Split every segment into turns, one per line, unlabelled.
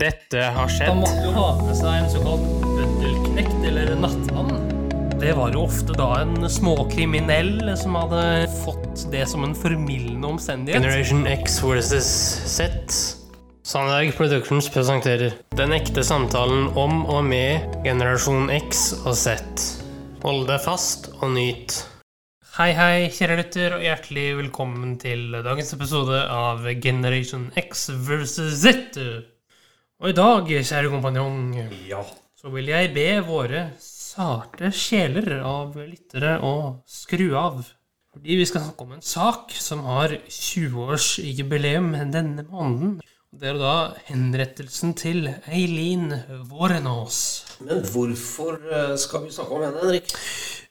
Dette har
Da
skjedd.
måtte jo ha med seg en såkalt bøddelknekt, eller en nattmann. Det var jo ofte da en småkriminell som hadde fått det som en formildende omstendighet.
Generation X versus Z. Sandberg Productions presenterer Den ekte samtalen om og med generasjon X og Z. Hold deg fast og nyt.
Hei, hei, kjære lytter, og hjertelig velkommen til dagens episode av Generation X versus Z. Og i dag, kjære kompanjong,
Ja.
så vil jeg be våre sarte sjeler av lyttere å skru av. Fordi vi skal snakke om en sak som har 20-årsjubileum denne måneden. Det er jo da henrettelsen til Eileen Vårenås.
Men hvorfor eh, skal vi snakke om henne, Henrik?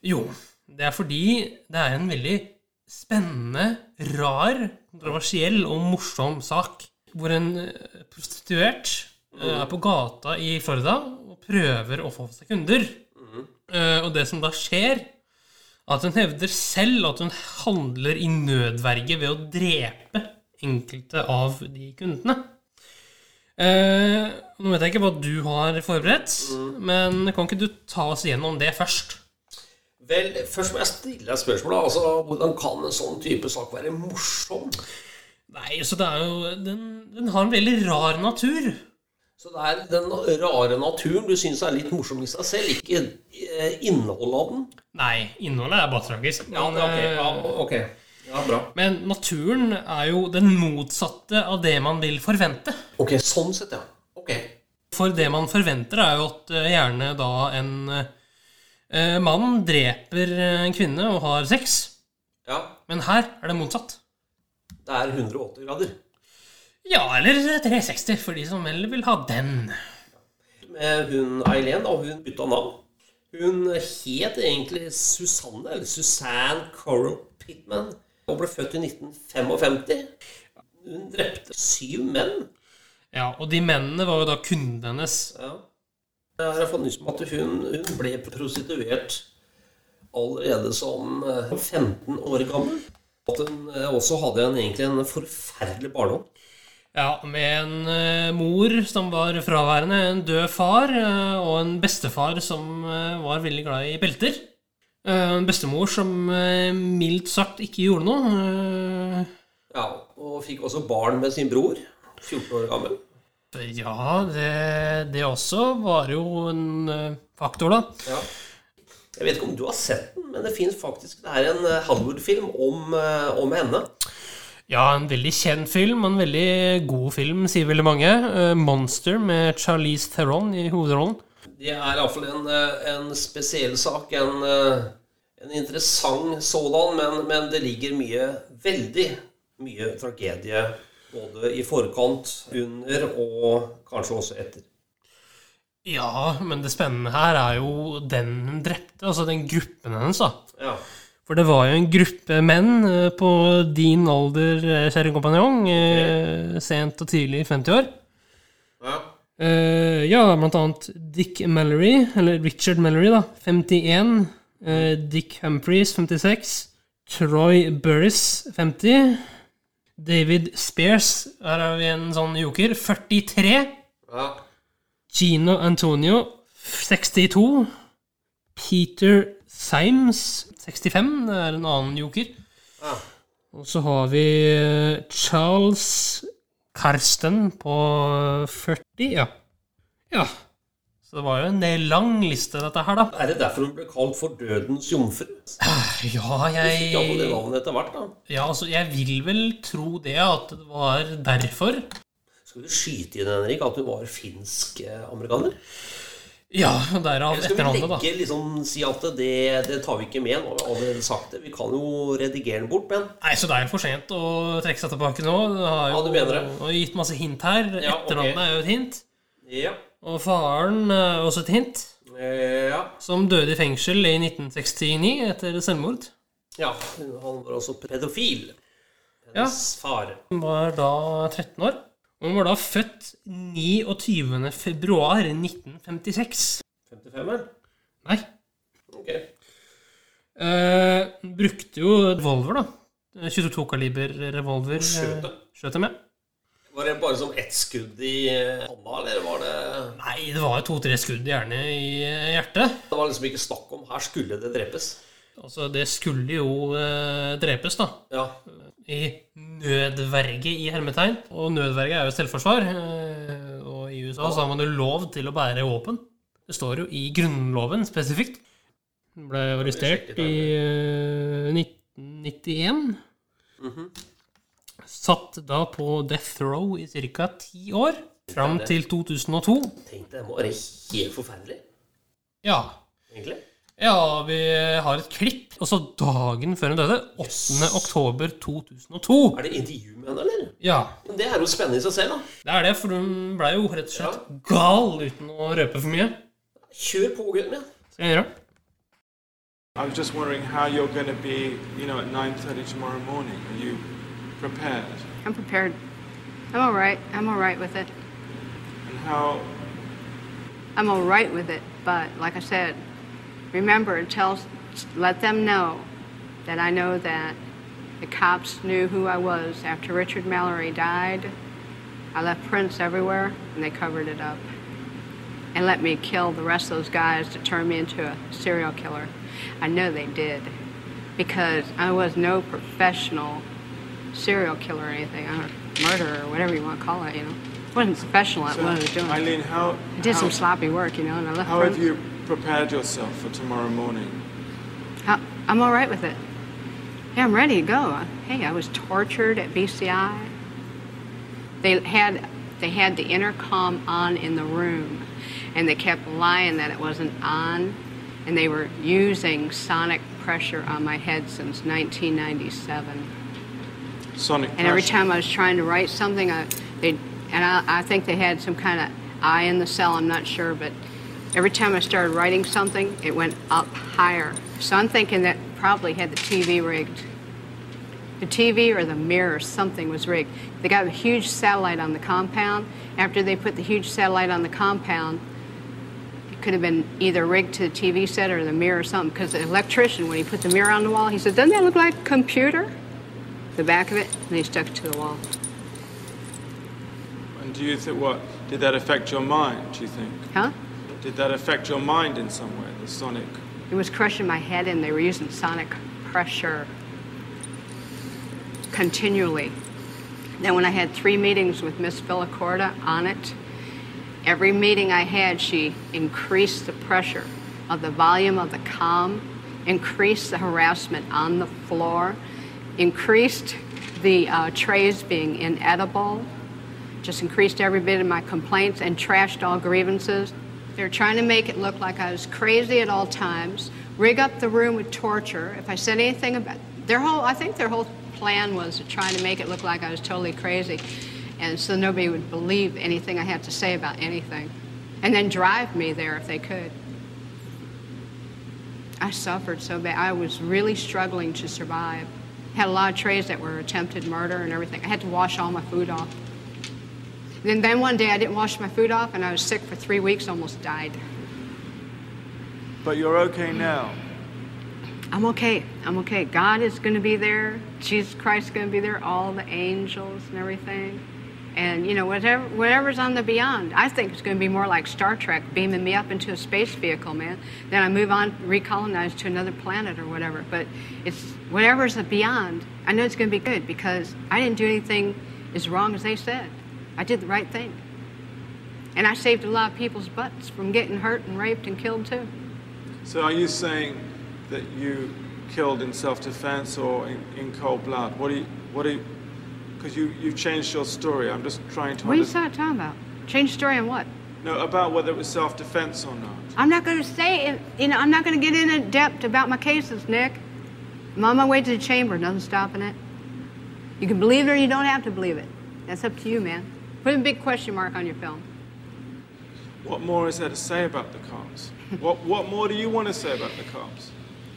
Jo, det er fordi det er en veldig spennende, rar, kontroversiell og morsom sak. Hvor en eh, prostituert eh, er på gata i Florida og prøver å få seg kunder. Eh, Og det som da skjer, er at hun hevder selv at hun handler i nødverge ved å drepe enkelte av de kundene. Eh, nå vet jeg ikke hva du har forberedt, men kan ikke du ta oss gjennom det først?
Vel, først må jeg stille deg spørsmålet. Altså, hvordan kan en sånn type sak være morsom?
Nei, så det er jo Den, den har en veldig rar natur.
Så det er den rare naturen du syns er litt morsom i seg selv, ikke eh, innholdet av den?
Nei, innholdet er bare tragisk. Men, eh,
Ja, bra.
men naturen er jo den motsatte av det man vil forvente.
Ok, sånn sett, ja. Ok.
For det man forventer, er jo at eh, gjerne da en eh, mann dreper eh, en kvinne og har sex.
Ja,
Men her er det motsatt.
det er 180 grader.
Ja, eller 360, for de som heller vil ha den.
Med hun Eileen, da, hun bytta navn. Hun het egentlig Susanne, eller Suzanne Coral Pittman, og ble født i 1955. Hun drepte syv menn.
Ja, Og de mennene var jo da kundene hennes.
Ja. Jeg har fått nyss om at hun, hun ble prostituert allerede som eh, 15 år gammel. At hun eh, også hadde en, egentlig en forferdelig barndom.
Ja, med en eh, mor som var fraværende, en død far eh, og en bestefar som eh, var veldig glad i belter. Eh, en bestemor som eh, mildt sagt ikke gjorde noe. Eh,
Ja, og fikk også barn med sin bror, 14 år gammel.
Eh, ja, det, det også var jo en eh, faktor, da.
Ja. Jeg vet ikke om du har sett den, men det fins faktisk Det er en eh, Hollywood-film om, eh, om henne.
Ja, en veldig kjent film, og en veldig god film, sier veldig mange. Eh, 'Monster' med Charlize Theron i hovedrollen.
Det er iallfall en, eh, en spesiell sak. En, eh, en interessant sådan, men, men det ligger mye, veldig mye tragedie både i forkant, under og kanskje også etter.
Ja, men det spennende her er jo den hun drepte, altså den gruppen hennes, da.
Ja.
For det var jo en gruppe menn eh, på din alder, eh, kjære kompanjong, eh, sent og tidlig i 50 år.
ja.
Eh, ja, blant annet Dick Mallory, eller Richard Mallory, da, 51. eh, Dick Humphries, 56. Troy Burris, 50. David Spears, her har vi en sånn joker, 43.
ja.
Gino Antonio, 62. Peter Symes, 65. Det er en annen joker.
Ja.
Ah. Og så har vi eh, Charles Karsten på 40, ja. Ja. Så det var jo en del lang liste, dette her, da.
Er det derfor hun ble kalt for Dødens jomfru?
Ja,
Fikk iallfall det
jeg
navnet etter hvert, da.
Ja, altså, jeg vil vel tro det, at det var derfor.
Skal du skyte inn, Henrik, at hun var eh, finsk-amerikaner?
Ja, derav
Skal vi
etternavnet, da.
legge, liksom, si at det, det tar vi ikke med nå? Vi har allerede sagt det. Vi kan jo redigere den bort, men
Nei, så det er jo for sent å trekke seg tilbake nå. Det har jo
Ja, du mener det.
og gitt masse hint her.
Ja, ok.
Etternavnet er jo et hint.
Ja.
Og faren er også et hint.
Eh, ja.
Som døde i fengsel i 1969 etter selvmord.
ja. Han var også pedofil.
Ja.
Hennes far.
Hun var da 13 år. Og hun var da født 29. februar 1956.
55-er?
Nei.
Ok.
Eh, hun brukte jo revolver, da. 22-kaliber revolver. eh,
Skjøt det.
Skjøt dem, ja.
Var det bare som ett skudd i eh, panna, eller var det
Nei, det var jo to-tre skudd gjerne i eh, hjertet.
Det var liksom ikke snakk om her skulle det drepes.
Altså, det skulle jo eh, drepes, da.
Ja,
I nødverge i hermetegn. Og nødverge er jo selvforsvar. eh, Og i USA så har man jo lov til å bære våpen. Det står jo i Grunnloven spesifikt. Han ble arrestert i eh, 1991. Satt da på death row i ca. ti år. Fram til 2002.
Tenk det, det må være helt forferdelig,
Ja,
egentlig.
Ja, vi har et klipp. Og så dagen før hun døde. 8. oktober 2002.
Er det intervju med henne, eller?
Ja,
Men Det er jo spennende i seg selv, da.
det er det, for hun blei jo rett og slett gal uten å røpe for mye.
Kjør på, gutten min.
Skal jeg gjøre det?
I was just wondering how you're going to be, you know, at 9:30 tomorrow morning. Are you prepared?
I'm prepared. I'm all right. I'm all right with it.
And how?
I'm all right with it. But like I said, remember, tell, let them know that I know that the cops knew who I was after Richard Mallory died. I left prints everywhere, and they covered it up. And let me kill the rest of those guys to turn me into a serial killer. I know they did because I was no professional serial killer or anything, or murderer, or whatever you want to call it, you know. I wasn't professional at
So,
what I was doing.
Eileen, how?
I did some
how-
sloppy work, you know, and I left.
Oh. How
room-
have you prepared yourself for tomorrow morning?
How- I'm all right with it. Yeah, I'm ready to go. Hey, I was tortured at BCI. They had they had the intercom on in the room, and they kept lying that it wasn't on, and they were using sonic pressure on my head since 1997.
Sonic.
And every
crash.
time I was trying to write something, I, they, and I, I think they had some kind of eye in the cell, I'm not sure, but every time I started writing something, it went up higher. So I'm thinking that probably had the TV rigged. The TV or the mirror, something was rigged. They got a huge satellite on the compound. After they put the huge satellite on the compound, it could have been either rigged to the TV set or the mirror or something, because the electrician, when he put the mirror on the wall, he said, Doesn't that look like a computer? the back of it and they stuck it to the wall.
And do you think what did that affect your mind? Do you think
Huh?
did that affect your mind in some way? The sonic.
It was crushing my head and they were using sonic pressure continually. Then when I had three meetings with Miss Villacorta on it, every meeting I had she increased the pressure of the volume of the calm, increased the harassment on the floor, increased the uh, trays being inedible, just increased every bit of my complaints and trashed all grievances. They're trying to make it look like I was crazy at all times, rig up the room with torture. If I said anything about their whole, I think their whole plan was to try to make it look like I was totally crazy, and so nobody would believe anything I had to say about anything, and then drive me there if they could. I suffered so bad. I was really struggling to survive. Had a lot of trays that were attempted murder and everything. I had to wash all my food off. Then, then one day I didn't wash my food off and I was sick for three weeks, almost died.
But you're okay now.
I'm okay. I'm okay. God is going to be there. Jesus Christ is going to be there. All the angels and everything. And, you know, whatever, whatever's on the beyond, I think it's going to be more like Star Trek beaming me up into a space vehicle, man. Then I move on, recolonize to another planet or whatever. But it's whatever's the beyond, I know it's going to be good because I didn't do anything as wrong as they said. I did the right thing. And I saved a lot of people's butts from getting hurt and raped and killed, too.
So are you saying that you killed in self-defense or in, in cold blood? What do you? What do you? Because you you've changed your story. I'm just trying to
What are you
understand.
talking about? Change story on what?
No, about whether it was self-defense or not.
I'm not going to say, it- you know, I'm not going to get into depth about my cases, Nick. I'm on my way to the chamber. Nothing stopping it. You can believe it or you don't have to believe it. That's up to you, man. Put a big question mark on your film.
What more is there to say about the cops? what What more do you want to say about the cops?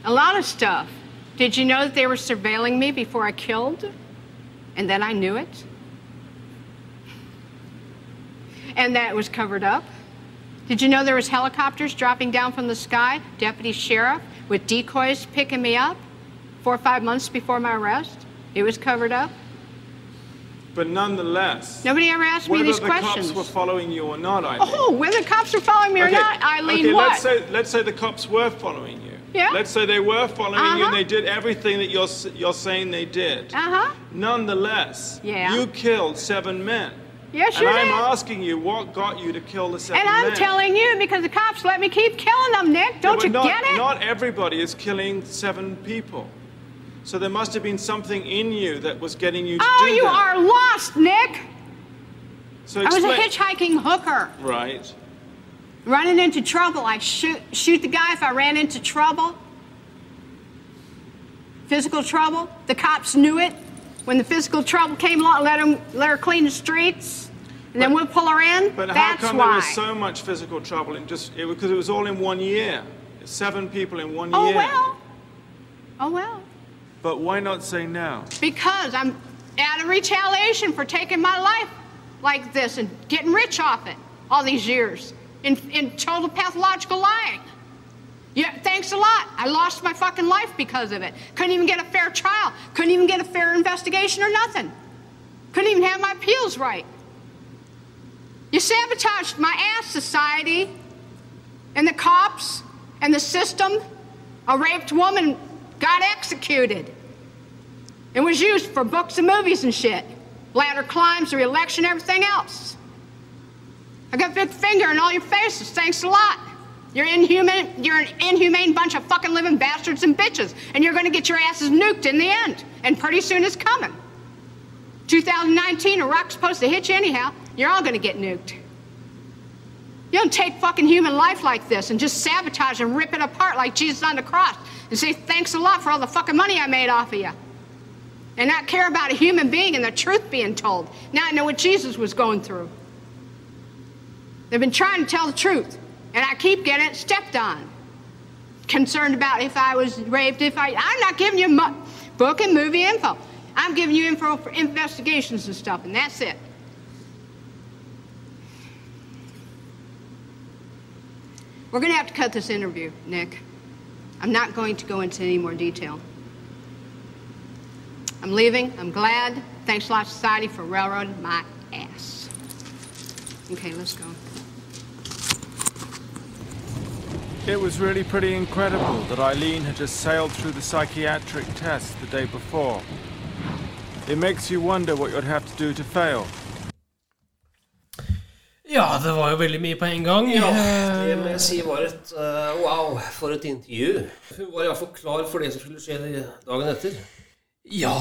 A lot of stuff. Did you know that they were surveilling me before I killed? And then I knew it? And that was covered up? Did you know there was helicopters dropping down from the sky, deputy sheriff with decoys picking me up 4 or 5 months before my arrest? It was covered up?
But nonetheless,
Nobody ever asked me
whether
these
the
questions.
cops were following you or not, I think.
oh, whether cops are following me or not, Eileen,
okay,
what?
Let's say, let's say the cops were following you.
Yeah.
Let's say they were following you and
Uh-huh.
they did everything that you're, s- you're saying they did.
uh-huh.
Nonetheless,
Yeah.
you killed seven men.
Yes,
and
you
I'm
did.
asking you what got you to kill the seven
And I'm
men.
telling you because the cops let me keep killing them, Nick.
Yeah,
Don't
but
you
not,
get it?
Not everybody is killing seven people. So there must have been something in you that was getting you to
oh,
do
you
that.
are lost, Nick.
So
I was
explain.
a hitchhiking hooker
Right.
running into trouble. I shoot shoot the guy if I ran into trouble. Physical trouble. The cops knew it. When the physical trouble came along, let him let her clean the streets, and then we'll pull her in.
But
That's
how come
why.
there was so much physical trouble in just it because it was all in one year, seven people in one
oh
year.
well. Oh well.
But why not say now?
Because I'm out of retaliation for taking my life like this and getting rich off it all these years in, in total pathological lying. Yeah, thanks a lot. I lost my fucking life because of it. Couldn't even get a fair trial. Couldn't even get a fair investigation or nothing. Couldn't even have my appeals right. You sabotaged my ass, society, and the cops, and the system. A raped woman got executed and was used for books and movies and shit. Ladder climbs, re-election, everything else. I got big finger in all your faces. Thanks a lot. You're inhuman. You're an inhumane bunch of fucking living bastards and bitches, and you're gonna get your asses nuked in the end. And pretty soon it's coming. 2019, a rock's supposed to hit you anyhow. You're all gonna get nuked. You don't take fucking human life like this and just sabotage and rip it apart like Jesus on the cross and say thanks a lot for all the fucking money I made off of you and not care about a human being and the truth being told. Now I know what Jesus was going through. They've been trying to tell the truth, and I keep getting it stepped on. Concerned about if I was raped, if I. I'm not giving you mu- book and movie info. I'm giving you info for investigations and stuff, and that's it. We're going to have to cut this interview, Nick. I'm not going to go into any more detail. I'm leaving. I'm glad. Thanks a lot, society, for railroading my ass. Okay, let's go.
It was really pretty incredible that Eileen had just sailed through the psychiatric test the day before. It makes you wonder what you'd have to do to fail.
Ja, det var jo veldig mye på en gang. Eh,
Ja, det må jeg si var et eh, Wow, for et intervju. Hun var iallfall klar for det som skulle skje dagen etter.
ja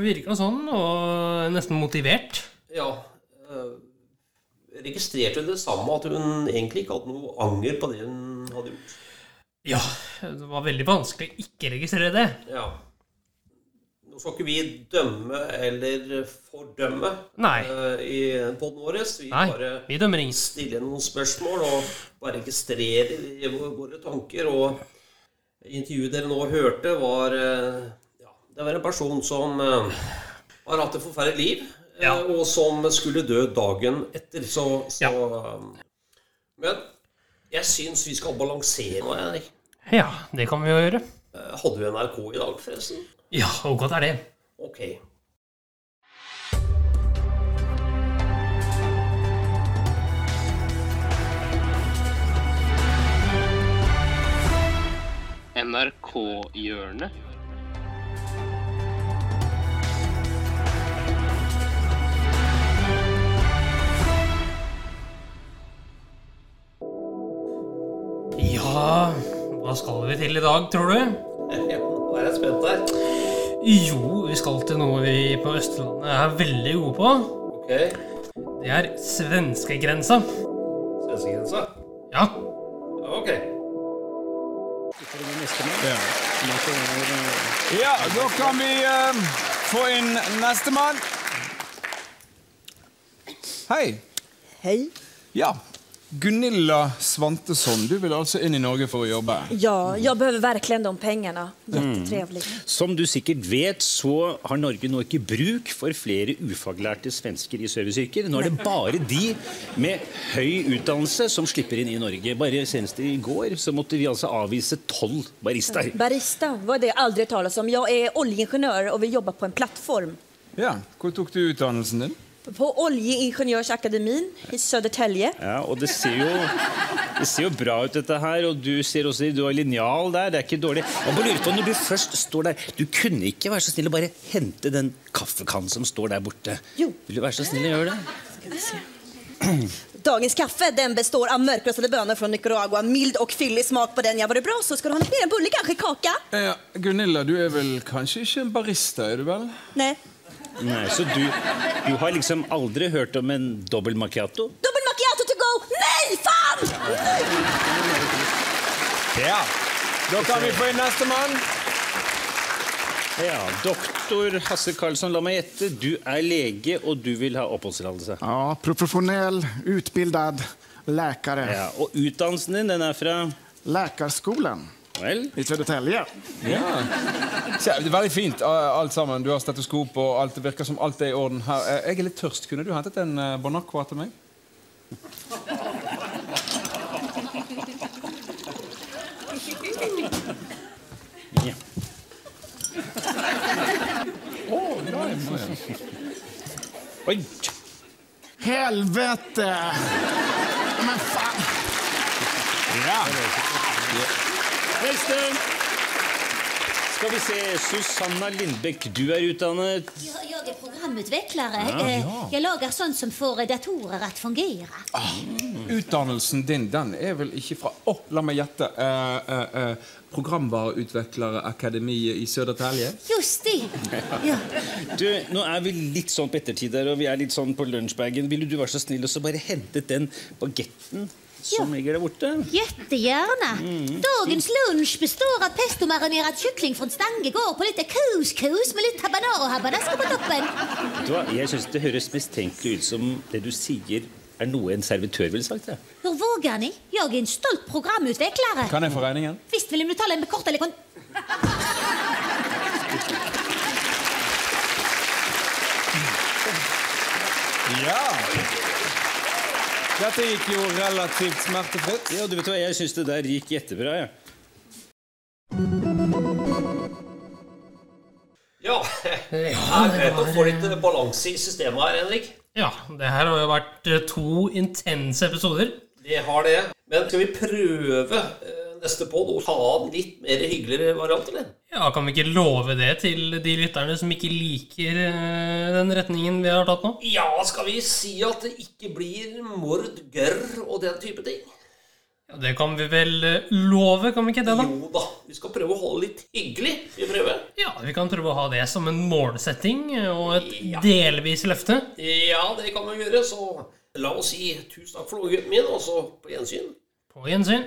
virka sånn, og nesten motivert.
Ja. eh, registrerte hun det samme, at hun egentlig ikke hadde noe anger på det hun hadde gjort?
Ja, det var veldig vanskelig å ikke registrere det.
Ja. Nå skal ikke vi dømme eller fordømme
Nei.
eh, i poden vår. Vi
Nei,
bare
vi dømmer ingen.
stiller noen spørsmål og bare registrerer i vå- våre tanker. Og intervjuet dere nå hørte, var eh, ja, Det var en person som eh, har hatt et forferdelig liv, eh,
Ja.
og som skulle dø dagen etter. Så, så eh, Men jeg syns vi skal balansere nå, Henrik.
Ja, det kan vi jo gjøre.
Eh, Hadde vi NRK i dag, forresten?
Ja, og godt er det.
Ok.
NRK-hjørnet.
Ja, hva skal vi til i dag, tror du?
Ja, Nå er jeg spent her.
Jo, vi skal til noe vi på Østlandet er veldig gode på.
Ok.
Det er svenskegrensa.
Svenskegrensa.
Ja.
Ok.
Ja, da kan vi eh, få inn nestemann. Hei.
Hej.
Ja. Gunilla Svantesson, du vil altså inn i Norge for å jobbe.
Ja, jag behöver verkligen de pengarna. Jättetrevlig.
Som du sikkert vet, så har Norge nå ikke bruk for flere ufaglærte svensker i serviceyrker. Nå er det bare de med høy utdannelse som slipper inn i Norge. Bare senest i går så måtte vi altså avvise tolv baristaer.
Barista, vad det aldrig talas om. Jag är oljeingenjör och vill jobba på en plattform.
Ja, Hvor tok du utdannelsen din?
På Oljeingenjörsakademin i Södertälje.
Ja, og det ser jo det ser jo bra ut, dette her. Og du ser også du har linjal der. Det er ikke dårlig. Jeg bare lurer på, Når du først står der Du kunne ikke være så snill å bare hente den kaffekannen som står der borte?
Jo.
Vil du være så snill å gjøre det?
Dagens kaffe den består av mörkrostade bönor från Nicaragua. Mild och fyllig smak på den. Ja, var det bra så ska du ha mer en bulle, kanske kaka?
Ja, Gunilla, du er vel kanskje ikke en barista, er du vel?
Nej.
Nei, Så du, du har liksom aldri hørt om en dobbel macchiato?
Dubbel macchiato to go! Nej, fan!
Ja. Da kan vi få inn nestemann.
Ja, Doktor Hasse Karlsson, la meg gjette. Du er lege, og du vil ha oppholdstillatelse.
Ja, professionell, utbildad läkare.
Ja, og utdannelsen din, den er fra
Läkarskolan
Vel?
i Södertälje.
Ja. Se, det er veldig fint, a- alt sammen. Du har stetoskop, og alt det virker som alt er i orden her. Eh, Jeg er litt tørst. Kunne du hentet en eh, Bon Aqua til meg?
Ja. Oi!
Helvete! Ja, Men fan!
Ja.
Neste! Skal vi se. Susanna Lindbekk, du er utdannet
Jag, jag är programutvecklare. Eh, Jag lagar sånt som får eh, datorer att fungera.
Mm. Utdannelsen din, den er vel ikke fra Å, la meg gjette. Eh, eh, eh, Programvareutvikleraakademiet i Södertälje?
Just det. Ja.
Du, Nå er vi litt sånn på ettertid her, og vi er litt sånn på lunsjbagen. Ville du være så snill og så bare hentet den bagetten som ligger der borte?
Jättegärna. Dagens lunch består av pestomarinerad kyckling från Stangegård på lite couscous med lite habanero habanasco på toppen.
Vet du hva, Jeg syns det høres mistenkelig ut som det du sier, er noe en servitør ville sagt. Jeg.
Hur vågar ni? Jag är en stolt programutvecklare.
Kan jeg få regningen?
Visst vill ni betala med kort eller kon...
Ja! Dette gikk jo relativt smertefritt.
Ja, du vet hva, Jeg syns det der gikk jettebra. Ja.
Ja, det er greit å få litt eh, balanse i systemet her, Henrik.
Ja, det her har jo vært eh, to intense episoder.
Det har det. Men skal vi prøve eh, neste podd å ta av en litt mer hyggeligere variant, eller?
Ja, Kan vi ikke love det til de lytterne som ikke liker eh, den retningen vi har tatt nå?
Ja, skal vi si at det ikke blir mord, gørr og den type ting?
Ja, Det kan vi vel eh, love, kan vi ikke det, da?
Jo da, vi skal prøve å holde litt hyggelig. Vi prøver.
Ja, Vi kan prøve å ha det som en målsetting eh, og et delvis løfte.
Ja, det kan vi gjøre, så la oss si tusen takk for nå, gutten min, og så på gjensyn.
På gjensyn.